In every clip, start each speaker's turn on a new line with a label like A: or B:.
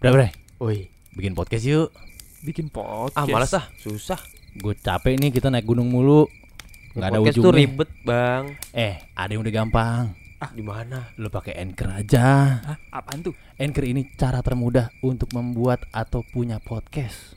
A: Bre, bre,
B: Woi,
A: bikin podcast yuk.
C: bikin podcast.
B: ah malas ah, susah.
A: Gue capek nih kita naik gunung mulu. Nggak ada
B: Podcast tuh
A: ujungnya.
B: ribet, Bang.
A: Eh, ada yang udah gampang.
B: Gimana?
A: Lu pakai Anchor aja.
C: Hah, Ah. apaan tuh?
A: Anchor ini cara termudah untuk membuat atau punya podcast.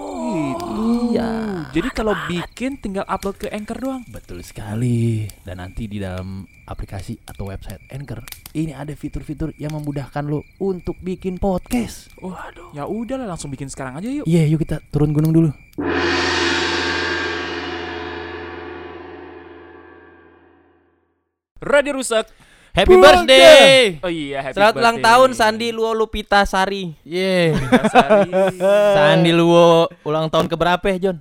C: gitu.
A: Iya.
C: Jadi kalau bikin tinggal upload ke Anchor doang.
A: Betul sekali. Dan nanti di dalam aplikasi atau website Anchor, ini ada fitur-fitur yang memudahkan lo untuk bikin podcast.
C: Waduh. Ya udahlah langsung bikin sekarang aja yuk.
A: Iya, yuk kita turun gunung dulu.
C: Radio rusak.
D: Happy birthday.
C: Oh iya,
D: Eh.
C: happy
D: Selamat ulang
C: birthday.
D: tahun Sandi Luo Lupita Sari.
A: Ye.
C: Sari.
D: Sandi Luo ulang tahun ke berapa ya, John?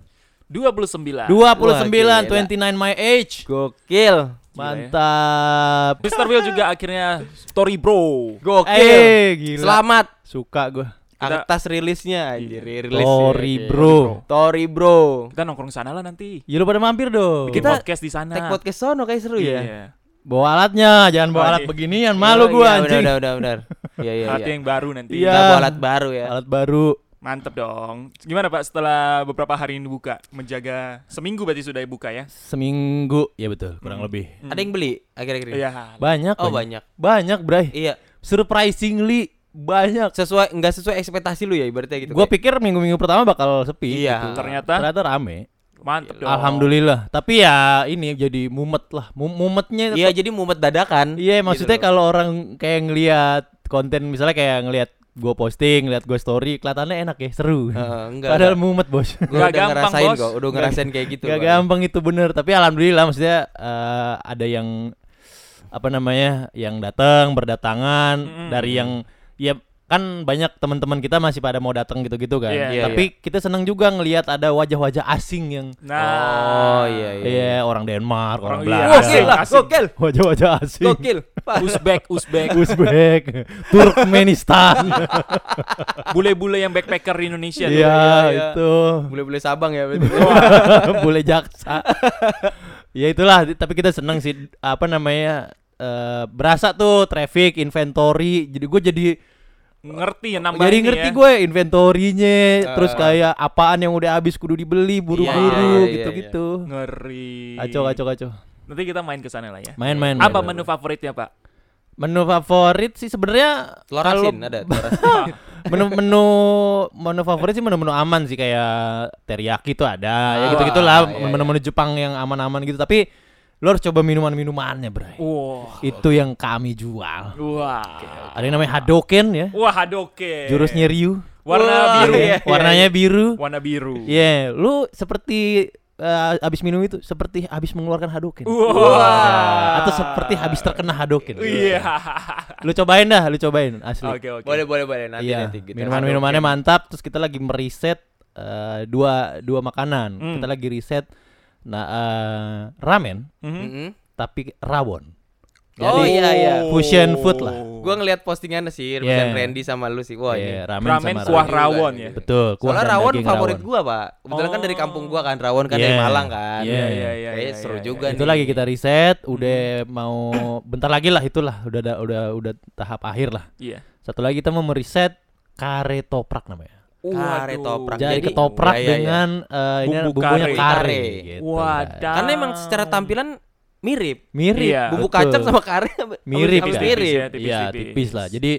D: 29,
C: 29.
B: Wah, gila.
D: 29 my age.
B: Gokil.
D: Mantap.
C: Mr. Will juga akhirnya story bro.
B: Gokil.
D: Eh, gila.
B: Selamat
D: Suka gua.
C: Kita- Iya.
B: atas rilisnya anjir, rilis.
D: Tori,
B: ya.
D: bro.
B: Tori, bro.
C: Kita kan nongkrong sana lah nanti.
D: Ya lu pada mampir dong.
C: Bikin
D: Kita
C: podcast di sana.
B: Tag
D: Nah.
B: podcast sono kayak seru ya.
C: Iya.
D: bawa alatnya, jangan bawa
C: Oh,
D: alat
C: iya.
D: beginian, malu
B: Iya,
D: gua anjing.
B: Udah, udah, udah. udah. Iya, iya,
C: Alat
B: iya.
C: yang baru nanti.
D: Iya.
B: Kita bawa alat baru ya.
D: Alat baru.
C: Mantep dong. Gimana Pak setelah beberapa hari ini buka? Menjaga seminggu berarti sudah buka ya?
D: Seminggu, ya betul, kurang lebih.
C: Hmm.
B: Ada yang beli akhir-akhir ini?
C: Iya.
D: Banyak,
B: Oh, banyak.
D: Banyak, Bray.
B: Iya,
D: Surprisingly banyak.
B: sesuai enggak sesuai ekspektasi lu ya ibaratnya gitu.
D: Gua
B: kayak-
D: pikir minggu-minggu pertama bakal sepi
B: Iya.
D: gitu.
C: Ternyata?
D: ternyata rame.
C: Mantep dong.
D: Alhamdulillah. Tapi ya ini jadi mumet lah. Mum- mumetnya
B: Iya, jadi mumet dadakan.
D: Iya,
B: Gitu
D: maksudnya
B: loh.
D: kalau orang kayak ngelihat konten misalnya kayak ngelihat gue posting, ngelihat gue story, kelihatannya enak ya, seru.
B: Heeh, Eh, enggak. Gitu,
D: Padahal
B: enggak.
D: mumet, Bos.
B: Gua
C: Nggak
B: udah
C: gampang,
B: ngerasain
C: Bos.
B: kok, udah
D: Nggak-
B: ngerasain kayak gitu.
D: Gak
B: Bang.
D: gampang itu bener, tapi alhamdulillah maksudnya eh, ada yang apa namanya? yang datang berdatangan
C: Mm-mm.
D: dari yang ya kan banyak teman-teman kita masih pada mau datang gitu-gitu kan.
C: Iya.
B: Iya,
D: tapi kita senang juga ngelihat ada wajah-wajah asing yang
C: Nah.
B: Oh, iya, iya.
D: Iya, orang Denmark, orang,
C: Orang- iya.
D: Belanda.
C: Wah,
B: Gokil lah,
C: Asing.
B: gokil.
D: Wajah-wajah asing.
B: Gokil.
D: Oh.
C: Uzbek, Uzbek,
D: Uzbek, Turkmenistan.
C: bule-bule yang backpacker di Indonesia. tuh.
D: Iya,
B: iya.
D: itu.
B: Boleh-boleh Sabang ya berarti.
D: Boleh jaksa. ya itulah, tapi kita seneng sih apa namanya? eh, berasa tuh traffic inventory. Jadi gue jadi
C: Ngerti ya nambah
D: jadi
C: ini
D: ngerti
C: ya.
D: gue inventorinya, terus
B: Eh.
D: kayak apaan yang udah habis kudu dibeli buru-buru
B: Iya, iya, iya,
D: gitu-gitu.
C: Ngeri.
D: Kacau kacau kacau.
C: Nanti kita main ke sana lah ya.
D: Main-main.
C: Apa menu favoritnya, Pak?
D: Menu favorit sih sebenarnya
B: Telur
D: kalau-
B: asin ada, telur asin.
D: menu menu menu favorit sih menu-menu aman sih kayak teriyaki tuh ada ya
B: Ah,
D: gitu gitulah
B: iya, iya.
D: menu-menu Jepang yang aman-aman gitu tapi lo harus coba minuman-minumannya bray
C: Wah.
D: itu yang kami jual
C: Wah.
D: ada yang namanya Hadoken ya
C: Wah, Hadoke.
D: jurusnya Ryu
C: warna
B: Wah,
C: biru.
B: iya.
D: warnanya biru
C: Warna biru.
D: ya lu seperti eh, abis minum itu seperti habis mengeluarkan Hadoken
C: Wah.
D: atau seperti habis terkena Hadoken
C: Iya.
D: lu cobain dah lu cobain asli
C: Oke, oke.
B: Boleh, boleh, boleh. Nanti
D: Iya,
B: nanti kita.
D: minuman-minumannya mantap. Terus kita lagi meriset eh, dua dua makanan.
C: Hmm.
D: Kita lagi riset nah eh, ramen
C: Mhm.
B: Mm-mm.
D: tapi rawon.
B: Mm-hmm. Oh
D: Jadi,
B: iya iya.
D: fusion food lah.
B: Gua ngeliat postingannya sih,
D: Yeah.
B: rebutan Randy sama lu sih. Wah,
D: iya,
B: ini.
D: ramen,
C: ramen
D: sama
C: kuah
D: rawon.
C: rawon ya.
D: Betul, kuah
B: Soalnya
D: dan
B: rawon
D: daging
B: favorit
D: rawon.
B: gua, Pak. Kebetulan kan dari kampung gua kan, rawon kan dari
D: Yeah.
B: Malang kan.
D: Iya,
C: iya, iya,
B: Kayaknya
C: iya,
B: seru
C: iya,
B: juga
D: Itu
B: nih. Hmm.
D: lagi kita riset, udah mau bentar lagi lah itulah, udah ada- udah udah tahap akhir lah.
C: Iya.
D: Satu lagi kita mau meriset kare toprak namanya.
B: Kare
C: Waduh.
B: toprak.
D: Jadi,
B: Ah, Jadi-
D: ketoprak
B: iya, iya, iya.
D: dengan eh, ini
C: Bumbu
D: bumbunya
C: kare.
D: kare.
B: Kare.
D: gitu, Iya,
C: Wadah.
D: Bray.
B: Karena emang secara
C: Ah.
B: tampilan mirip.
D: mirip
C: Iya.
B: Bumbu
D: betul.
B: kacang sama kare hampir-
D: mirip
B: hampir
D: ya.
B: mirip. kan?
C: ya, tipis-tipis.
D: Iya, tipis lah. Jadi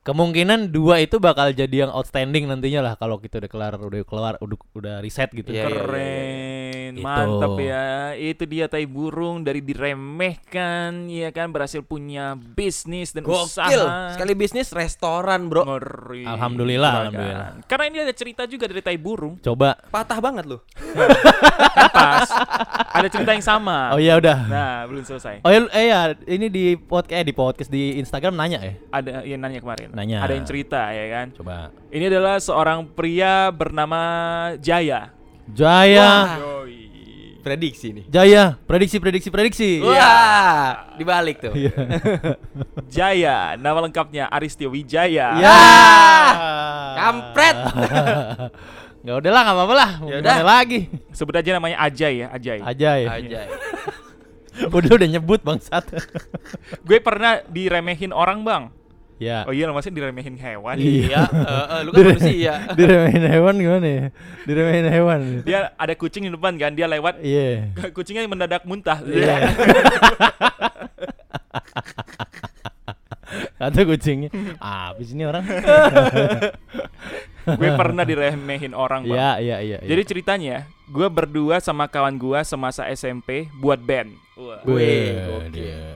D: kemungkinan dua itu bakal jadi yang outstanding nantinya lah kalau kita udah kelar udah keluar udah, udah riset gitu.
B: Iya, iya.
C: Keren,
D: Itu.
C: mantap ya. Itu dia tai burung dari diremehkan, ya kan berhasil punya bisnis dan
B: Gokil.
C: iya. usaha.
B: Sekali bisnis restoran, Bro.
C: Ngeri.
D: Alhamdulillah,
C: Keren.
D: alhamdulillah.
C: Karena ini ada cerita juga dari tai burung.
D: Coba.
B: Patah banget lu.
C: Pas. ada cerita yang sama.
D: Oh ya udah.
C: Nah, belum selesai.
D: Oh ya, eh ya, ini di podcast eh di podcast di Instagram nanya ya.
C: Ada yang nanya kemarin.
D: Nanya.
C: Ada yang cerita ya kan.
D: Coba.
C: Ini adalah seorang pria bernama Jaya.
D: Jaya,
C: Iya. Yoi.
B: Prediksi nih.
D: Jaya, prediksi prediksi prediksi.
B: Wah, dibalik tuh.
D: Iya. Iya.
C: Jaya, nama lengkapnya Aristio Wijaya.
D: Ya.
B: kampret.
D: Gak udah lah, gak apa-apa lah. Mau
B: Yaudah.
D: gimana lagi?
C: Sebut aja namanya Ajay ya, Ajay.
D: Aja ya.
B: Aja.
D: udah udah nyebut bangsat.
C: Gue pernah diremehin orang, Bang.
D: ya.
C: Oh iya, lo maksudnya diremehin hewan.
B: Iya, eh, eh, lu kan manusia.
D: Diremehin hewan gimana ya? Diremehin hewan.
C: Dia ada kucing di depan kan, dia lewat
D: Iya.
C: kucingnya mendadak muntah.
D: Iya. Atau kucingnya. Ah, habis ini orang.
C: gue pernah diremehin orang, Bang.
D: Iya, iya, iya.
C: Jadi ceritanya, gue berdua sama kawan gue semasa SMP buat band. Wah,
D: gue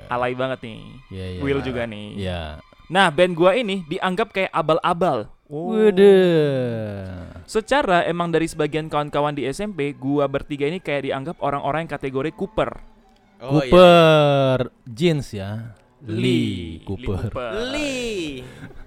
C: alay banget nih.
D: Iya, iya.
C: Will juga nih.
D: Iya.
C: Nah, band gue ini dianggap kayak abal-abal.
D: Waduh.
C: Secara emang dari sebagian kawan-kawan di SMP, gua bertiga ini kayak dianggap orang-orang yang kategori Cooper.
B: Oh, iya.
D: Cooper jeans ya. Lee Cooper.
B: Li.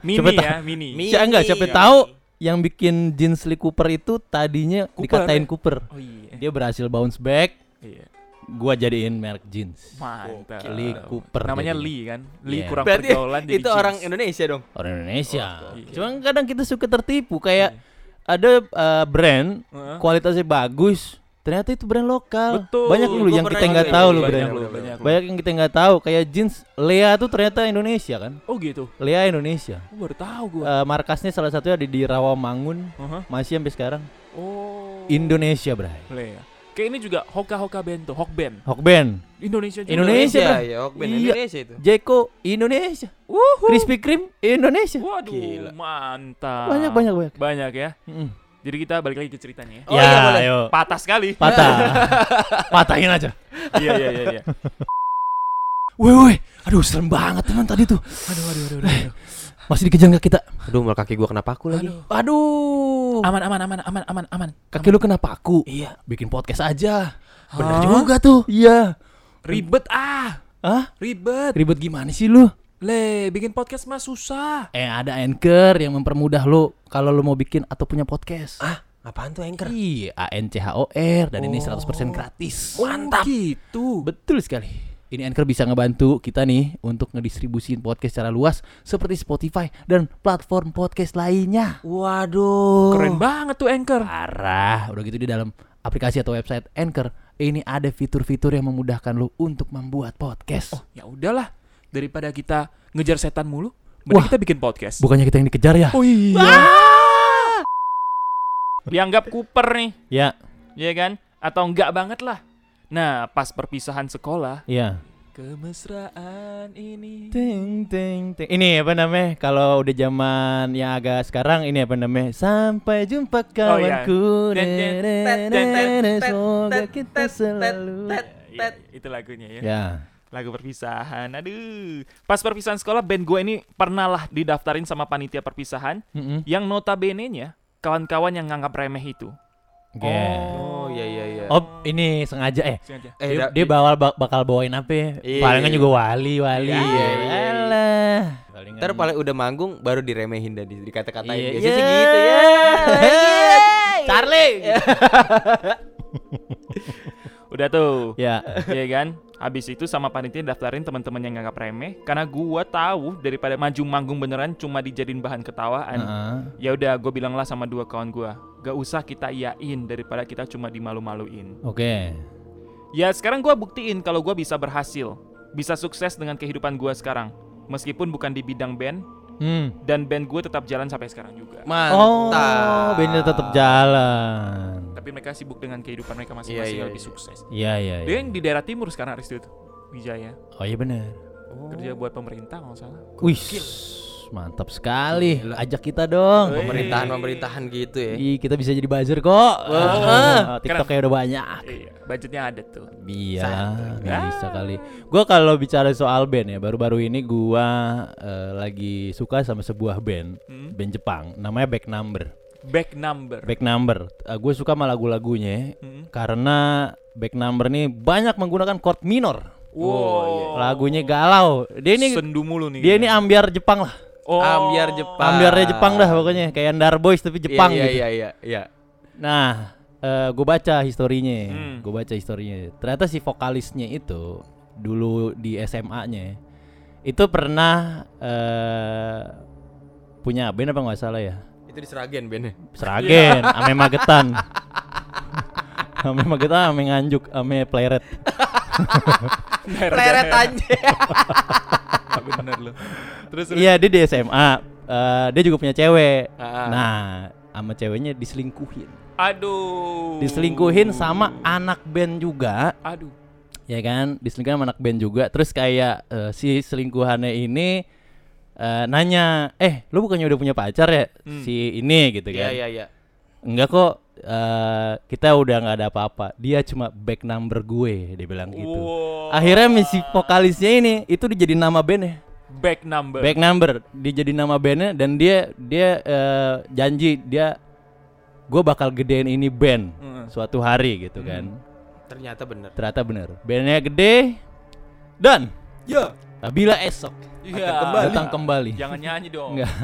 C: Mini
D: Coba
C: ya, mini.
B: Mi-
D: Siapa enggak siapa
B: Ini.
D: tahu yang bikin jeans Lee Cooper itu tadinya
C: Cooper,
D: dikatain
C: ya?
D: Cooper.
C: oh iya.
D: Dia berhasil bounce back,
C: iya.
D: gua jadiin merek jeans.
C: Mantap.
D: Lee Cooper
C: Namanya
D: jadi.
C: Lee kan? Lee
D: Iya.
C: kurang
B: Berarti
C: pergaulan jadi
B: itu orang
C: jeans.
B: Indonesia dong.
D: Orang Indonesia.
C: oke.
D: Cuman kadang kita suka tertipu kayak ada eh, brand
C: Iya. Heeh.
D: kualitasnya bagus, ternyata itu brand lokal.
C: Betul.
D: Banyak lu
B: Gua
D: yang
B: pernah
D: kita nggak
B: juga
D: tahu
B: itu.
D: lu
C: Banyak
D: brand.
C: lu, banyak lu.
D: Banyak yang kita nggak tahu kayak jeans Lea tuh ternyata Indonesia kan.
C: Oh gitu.
D: Lea Indonesia.
C: Gua baru tahu gua. Uh-huh.
D: Eh, markasnya salah satunya ada di Rawamangun.
C: Aha.
D: Masih sampai sekarang
C: Oh.
D: Indonesia, Bray.
C: Lee. ya? Kayak ini juga Hoka Hoka Bento, Hok Band.
D: Hokben,
C: Indonesia juga.
D: Indonesia. Bang.
B: ya, Hokben
D: Iya.
B: Indonesia itu.
D: Jeko Indonesia,
C: Wuhu.
D: Krispy Kreme Indonesia.
C: Waduh,
B: Gila.
C: mantap.
D: Banyak banyak banyak.
C: Banyak ya.
D: Mm.
C: Jadi kita balik lagi ke ceritanya ya.
B: Oh, iya, boleh.
D: ayo.
C: Patah sekali.
D: Patah. Patahin aja.
C: Iya iya iya iya.
D: Woi woi, aduh serem banget teman tadi tuh.
C: Aduh aduh aduh aduh. aduh.
D: Masih dikejar nggak kita?
B: Aduh, mal kaki gua kenapa aku lagi?
D: Aduh.
C: Aman aman aman aman aman aman.
D: Kaki lu kenapa aku?
C: Iya.
D: Bikin podcast aja.
C: Hah?
D: Bener juga tuh. Iya.
C: Ah, Ribet ah.
D: Hah?
C: Ribet.
D: Ribet gimana sih lu?
C: Le, bikin podcast mah susah.
D: Eh ada anchor yang mempermudah lu kalau lu mau bikin atau punya podcast.
B: Ah, apaan tuh anchor?
D: Iya, A N C H O R dan ini 100% gratis.
C: Mantap.
D: Oh,
C: gitu.
D: Betul sekali. Ini Anchor bisa ngebantu kita nih untuk ngedistribusin podcast secara luas seperti Spotify dan platform podcast lainnya.
B: Waduh.
C: Keren banget tuh Anchor.
D: Parah, udah gitu di dalam aplikasi atau website Anchor ini ada fitur-fitur yang memudahkan lu untuk membuat podcast.
C: Oh, ya udahlah. Daripada kita ngejar setan mulu,
D: Wah.
C: mending kita bikin podcast.
D: Bukannya kita yang dikejar ya?
C: Oh iya. Dianggap Cooper nih,
D: Ya,
C: ya kan? Atau enggak banget lah. Nah, pas perpisahan sekolah,
D: ya.
C: kemesraan ini.
D: Ting ting ting. Ini apa namanya? Kalau udah zaman yang agak sekarang ini apa namanya? Sampai jumpa
C: iya.
D: kawanku.
C: Ten, ten, ten, ten,
D: Nenek, Semoga kita selalu.
C: Ya, itu lagunya ya.
D: Ya.
C: Lagu perpisahan. Aduh. Pas perpisahan sekolah band gue ini pernah lah didaftarin sama panitia perpisahan
D: Mm-mm.
C: yang notabene-nya kawan-kawan yang nganggap remeh itu.
D: Oke.
B: Oh, iya iya iya.
D: Oh, ini sengaja eh.
C: Sengaja.
B: Eh,
D: dia,
B: da-
D: dia bawal bak- bakal bawain apa ya?
B: Iya.
D: Palingan juga wali, wali.
B: Iya, iya, iya.
D: Alah. Palingan-
B: Ntar paling udah manggung baru diremehin dan di- dikata-katain
D: Iya,
B: biasanya
D: iya.
B: gitu ya. Iya.
D: Charlie.
C: Udah tuh.
D: ya.
C: Iya kan? Habis itu sama panitia daftarin teman-teman yang nganggap remeh karena gua tahu daripada maju manggung beneran cuma dijadiin bahan ketawaan.
D: Heeh.
C: Ya udah, gue bilang lah sama dua kawan gua, gak usah kita iyain daripada kita cuma dimalu-maluin.
D: Oke.
C: Ya sekarang gua buktiin kalau gua bisa berhasil, bisa sukses dengan kehidupan gua sekarang. Meskipun bukan di bidang band
D: Hmm.
C: dan band gue tetap jalan sampai sekarang juga.
B: Mantap.
D: Oh, bandnya tetap jalan.
C: Tapi mereka sibuk dengan kehidupan mereka masing-masing
B: Iya, iya,
C: yang lebih
B: iya.
C: sukses.
D: Iya, iya,
C: Dia
D: iya.
C: yang di daerah timur sekarang Aristu itu. Wijaya,
D: Oh iya benar.
C: kerja buat pemerintah kalau nggak salah.
D: Wih, mantap sekali. Ajak kita dong.
B: Pemerintahan-pemerintahan gitu ya.
D: Ih, kita bisa jadi buzzer kok. Ah, TikToknya udah banyak.
C: Iya, budgetnya ada tuh.
D: Iya, nggak bisa
B: Ah.
D: kali. Gua kalau bicara soal band ya, baru-baru ini gua eh, lagi suka sama sebuah band,
C: Hmm.
D: band Jepang, namanya Back Number.
C: Back number.
D: Back Number. gue suka sama lagu-lagunya ya.
C: Hmm.
D: karena Back Number nih banyak menggunakan chord minor.
C: Wow.
B: Oh.
D: Lagunya galau. iya. Dia ini
C: sendu mulu nih.
D: dia ini
B: ya.
D: ambiar Jepang lah.
C: oh.
B: Ambiar Jepang.
D: Ambiarnya Jepang dah pokoknya, kayak Ndar Boys tapi Jepang
B: Ah. Iya
D: gitu.
B: iya iya iya.
D: Nah, gue baca historinya,
C: Hmm.
D: gue baca historinya. Ternyata si vokalisnya itu dulu di SMA-nya itu pernah eh punya band apa nggak salah ya?
B: Itu di Seragen bandnya.
D: Seragen,
B: Iya.
D: ame Magetan. ame Magetan, ame Nganjuk, ame Pleret.
B: Leret aja.
C: Bener lu. Terus terus.
D: Iya, dia di SMA. Eh, dia juga punya cewek.
B: Ah. Oh.
D: Nah, sama ceweknya diselingkuhin.
C: Aduh.
D: Diselingkuhin sama anak band juga,
C: Aduh.
D: ya kan? Diselingkuhin sama anak band juga. Terus kayak eh, si selingkuhannya ini eh, nanya, "Eh, lu bukannya udah punya pacar ya
C: Hmm.
D: si ini gitu kan?"
B: Iya iya iya.
D: Enggak kok, eh, kita udah nggak ada apa-apa. Dia cuma back number gue, dia bilang gitu.
C: Wow.
D: Akhirnya misi vokalisnya ini itu dijadiin nama bandnya
C: back number.
D: Back number dijadiin nama bandnya dan dia dia eh, janji dia gue bakal gedein ini band
C: Heeh.
D: suatu hari gitu kan.
B: Ternyata bener.
D: Ternyata bener bandnya gede dan
B: Ya.
D: bila esok
C: Iya.
D: datang kembali.
C: Jangan nyanyi dong.
D: Enggak.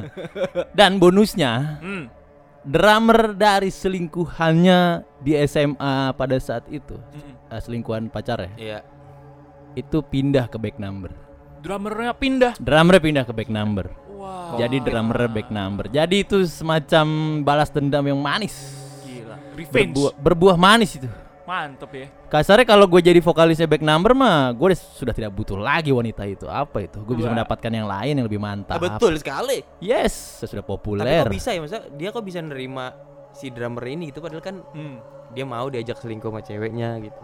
D: Dan bonusnya
C: Hmm.
D: drummer dari selingkuhannya di SMA pada saat itu
C: Mm-mm.
D: eh, selingkuhan pacar ya
B: Iya.
D: itu pindah ke back number.
C: Drummernya pindah.
D: Drummer pindah ke back number.
C: Wah.
D: Jadi
B: Oh.
D: drummer back number. Jadi itu semacam balas dendam yang manis.
C: Gila. Revenge.
D: Berbuah, berbuah manis itu.
C: Mantep ya.
D: Kasarnya kalau gue jadi vokalisnya back number mah gue sudah tidak butuh lagi wanita itu. Apa itu? Gue bisa
C: Wah.
D: mendapatkan yang lain yang lebih mantap.
B: Ah, betul sekali.
D: Yes, saya sudah
B: Tapi
D: populer.
B: kok bisa ya masa dia kok bisa nerima si drummer ini gitu padahal kan
C: Hmm. dia
B: dia mau diajak selingkuh sama ceweknya gitu.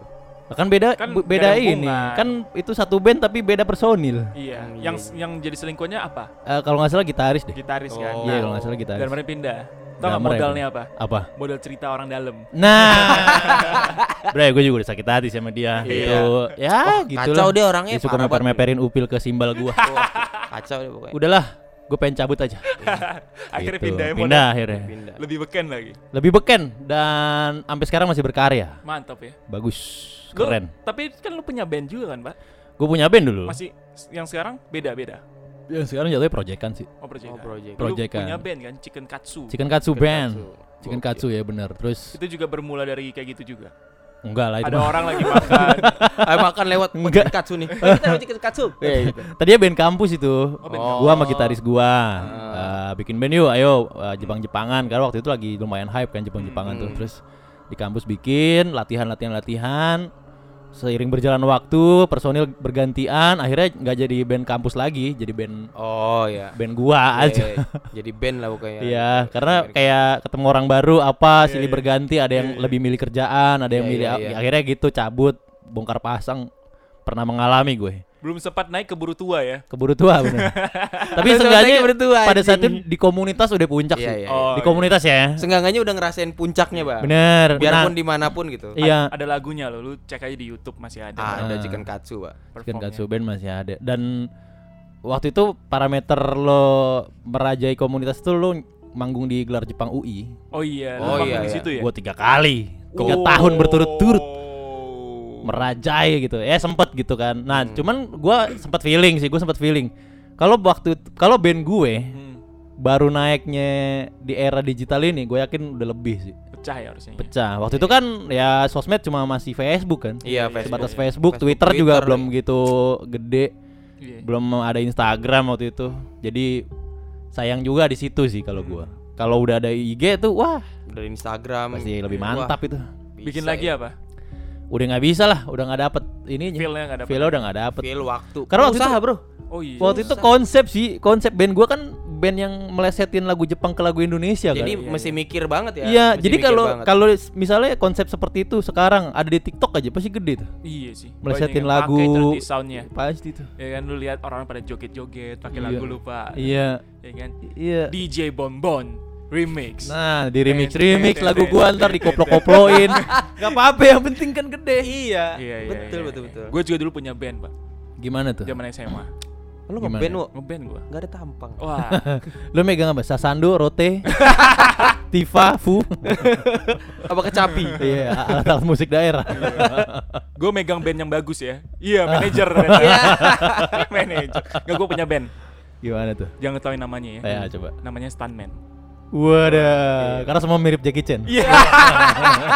D: Kan beda
C: Kan
D: bu-
C: gak
D: beda
C: ada
D: ini.
C: hubungan.
D: Kan itu satu band tapi beda personil.
C: Iya.
B: Hmm,
C: yang
B: iya,
C: yang jadi selingkuhnya apa?
D: Eh, kalau nggak salah gitaris deh.
C: Gitaris kan.
B: Oh.
D: Iya, kalau nggak salah gitaris.
C: Drummernya pindah.
D: Drummer
C: Tau nggak
D: ya, Gitu.
C: modalnya apa?
D: Apa?
C: Modal cerita orang dalam.
D: Nah, Bre, gue juga udah sakit hati sama
C: Iya.
D: dia. Itu ya gitu
B: Oh, kacau dia orangnya,
D: Dia suka
B: parah banget.
D: meper-meperin upil ke simbal gua.
B: Kacau deh pokoknya.
D: Udahlah, gue pengen cabut aja.
C: Akhirnya
D: Gitu.
C: pindah ya modal.
D: Pindah akhirnya.
B: Pindah.
C: Lebih beken lagi.
D: Lebih beken dan sampai sekarang masih berkarya.
C: Mantap ya.
D: Bagus,
C: Lu-
D: keren.
C: tapi kan lu punya band juga kan, Pak?
D: Gue punya band dulu.
C: Masih yang sekarang beda-beda.
D: Ya, sekarang jatuhnya proyekan sih.
C: Oh, project.
B: Oh, project.
C: Dulu
D: Proyekan.
C: punya band kan Chicken Katsu.
D: Chicken Katsu
B: Chicken
D: band.
B: Katsu.
D: Chicken
B: Oke.
D: Katsu ya bener. Terus
C: Itu juga bermula dari kayak gitu juga.
D: enggak lah itu.
C: Ada
D: mah.
C: orang lagi makan.
B: Ayo makan lewat
D: Enggak. Iya,
B: Chicken katsu nih. Eh, Kita lewat Chicken katsu. Ya, gitu.
D: Tadinya band kampus itu.
C: band
B: Oh, kampus.
D: Gua sama gitaris gua.
B: Ah.
D: Eh, bikin band yuk, ayo eh, Jepang-Jepangan karena waktu itu lagi lumayan hype kan Jepang-Jepangan tuh.
B: Hmm.
D: Terus di kampus bikin latihan-latihan-latihan. Seiring berjalan waktu, personil bergantian, akhirnya nggak jadi band kampus lagi, jadi band
B: Oh ya.
D: band gua aja.
B: Ya, Jadi band lah pokoknya.
D: Iya, karena kayak ketemu orang baru apa silih berganti, ada yang lebih milih kerjaan, ada yang
B: Iya,
D: milih
B: iya,
D: ya,
B: iya.
D: akhirnya gitu cabut, bongkar pasang. Pernah mengalami gue.
C: Belum sempat naik keburu tua ya.
D: Keburu tua bener. Tapi
B: Lu sama
D: seenggaknya
B: saya keburu tua,
D: pada saat
B: anjing.
D: itu di komunitas udah puncak
B: Iya,
D: sih.
B: iya.
C: Oh,
D: Di
C: iya.
D: komunitas ya.
B: Senggangannya udah ngerasain puncaknya, Bang.
D: Bener. Nah,
B: Biarpun dimanapun gitu.
D: iya.
C: Ada lagunya loh, lu cek aja di YouTube masih ada.
B: Ada
D: Ah.
B: Chicken katsu, Pak.
D: Chicken
C: performnya.
D: Katsu Band Kan masih ada dan waktu itu parameter lo merajai komunitas itu lo manggung di gelar Jepang UI.
C: Oh iya, lu
B: Oh
C: manggung
B: iya,
C: di
B: iya.
C: situ ya.
D: Gue tiga kali, tiga
C: Oh.
D: tahun berturut-turut merajai gitu. Ya sempet gitu kan. Nah
C: Hmm.
D: cuman gua sempet feeling sih, gue sempet feeling. Kalau waktu kalau band gue
C: Hmm,
D: baru naiknya di era digital ini, gue yakin udah lebih sih.
C: pecah ya harusnya. ya.
D: pecah. Waktu itu kan ya sosmed cuma masih Facebook kan.
B: Iya, Facebook.
D: Sebatas
B: Iya.
D: Facebook,
B: Facebook,
D: Twitter, juga
B: Twitter.
D: belum gitu gede.
C: Iya.
D: Belum ada Instagram waktu itu. Jadi sayang juga di situ sih kalau gua.
B: Hmm.
D: Kalau udah ada IG tuh wah
B: Dari Instagram.
D: pasti lebih
B: Hmm. Wah,
D: mantap itu.
B: bisa
C: Bikin lagi
D: iya.
B: ya.
C: apa?
D: Udah nggak bisa lah, udah nggak dapet ini.
C: Feel-nya nggak dapet.
D: Feel udah nggak dapet.
B: Feel waktu.
D: Karena waktu
B: Usaha,
D: itu, bro.
C: Oh iya.
D: Waktu itu konsep sih, konsep band gua kan band yang melesetin lagu Jepang ke lagu Indonesia
B: Jadi
C: Iya,
D: kan.
B: mesti mikir banget ya.
D: Iya,
B: Mesti
D: jadi
B: mikir
D: kalau
B: banget.
D: kalau misalnya konsep seperti itu sekarang ada di TikTok aja pasti gede tuh.
C: Iya sih.
D: melesetin
C: Banyak yang
D: lagu
C: pakai terus di soundnya.
D: pasti tuh
C: Ya kan lu lihat orang pada joget-joget pakai
D: Iya.
C: lagu lupa.
D: iya
C: Ya kan?
D: iya
C: DJ Bonbon remix.
D: nah di remix remix
C: gitu.
D: lagu gua ntar dikoplok koploin nggak apa apa yang penting kan gede
B: iya.
C: Iya, iya,
B: Betul,
C: iya,
B: betul,
C: iya.
B: betul.
C: Gue juga dulu punya band, Pak.
D: gimana tuh
C: Zaman SMA.
B: Lu
D: Gimana?
B: ngeband, Wo?
C: Ngeband gua.
B: Enggak ada tampang.
C: Wah,
D: lu megang apa sasando rote tifa fu
B: Apa kecapi?
D: iya alat alat musik daerah
C: Iya. gue megang band yang bagus ya. Iya, manajer. Iya. manajer. Enggak gue punya band.
D: gimana tuh
C: Jangan ketahuin namanya ya.
D: ya coba
C: Namanya Stuntman.
D: wadah karena semua mirip Jackie Chan
C: Iya.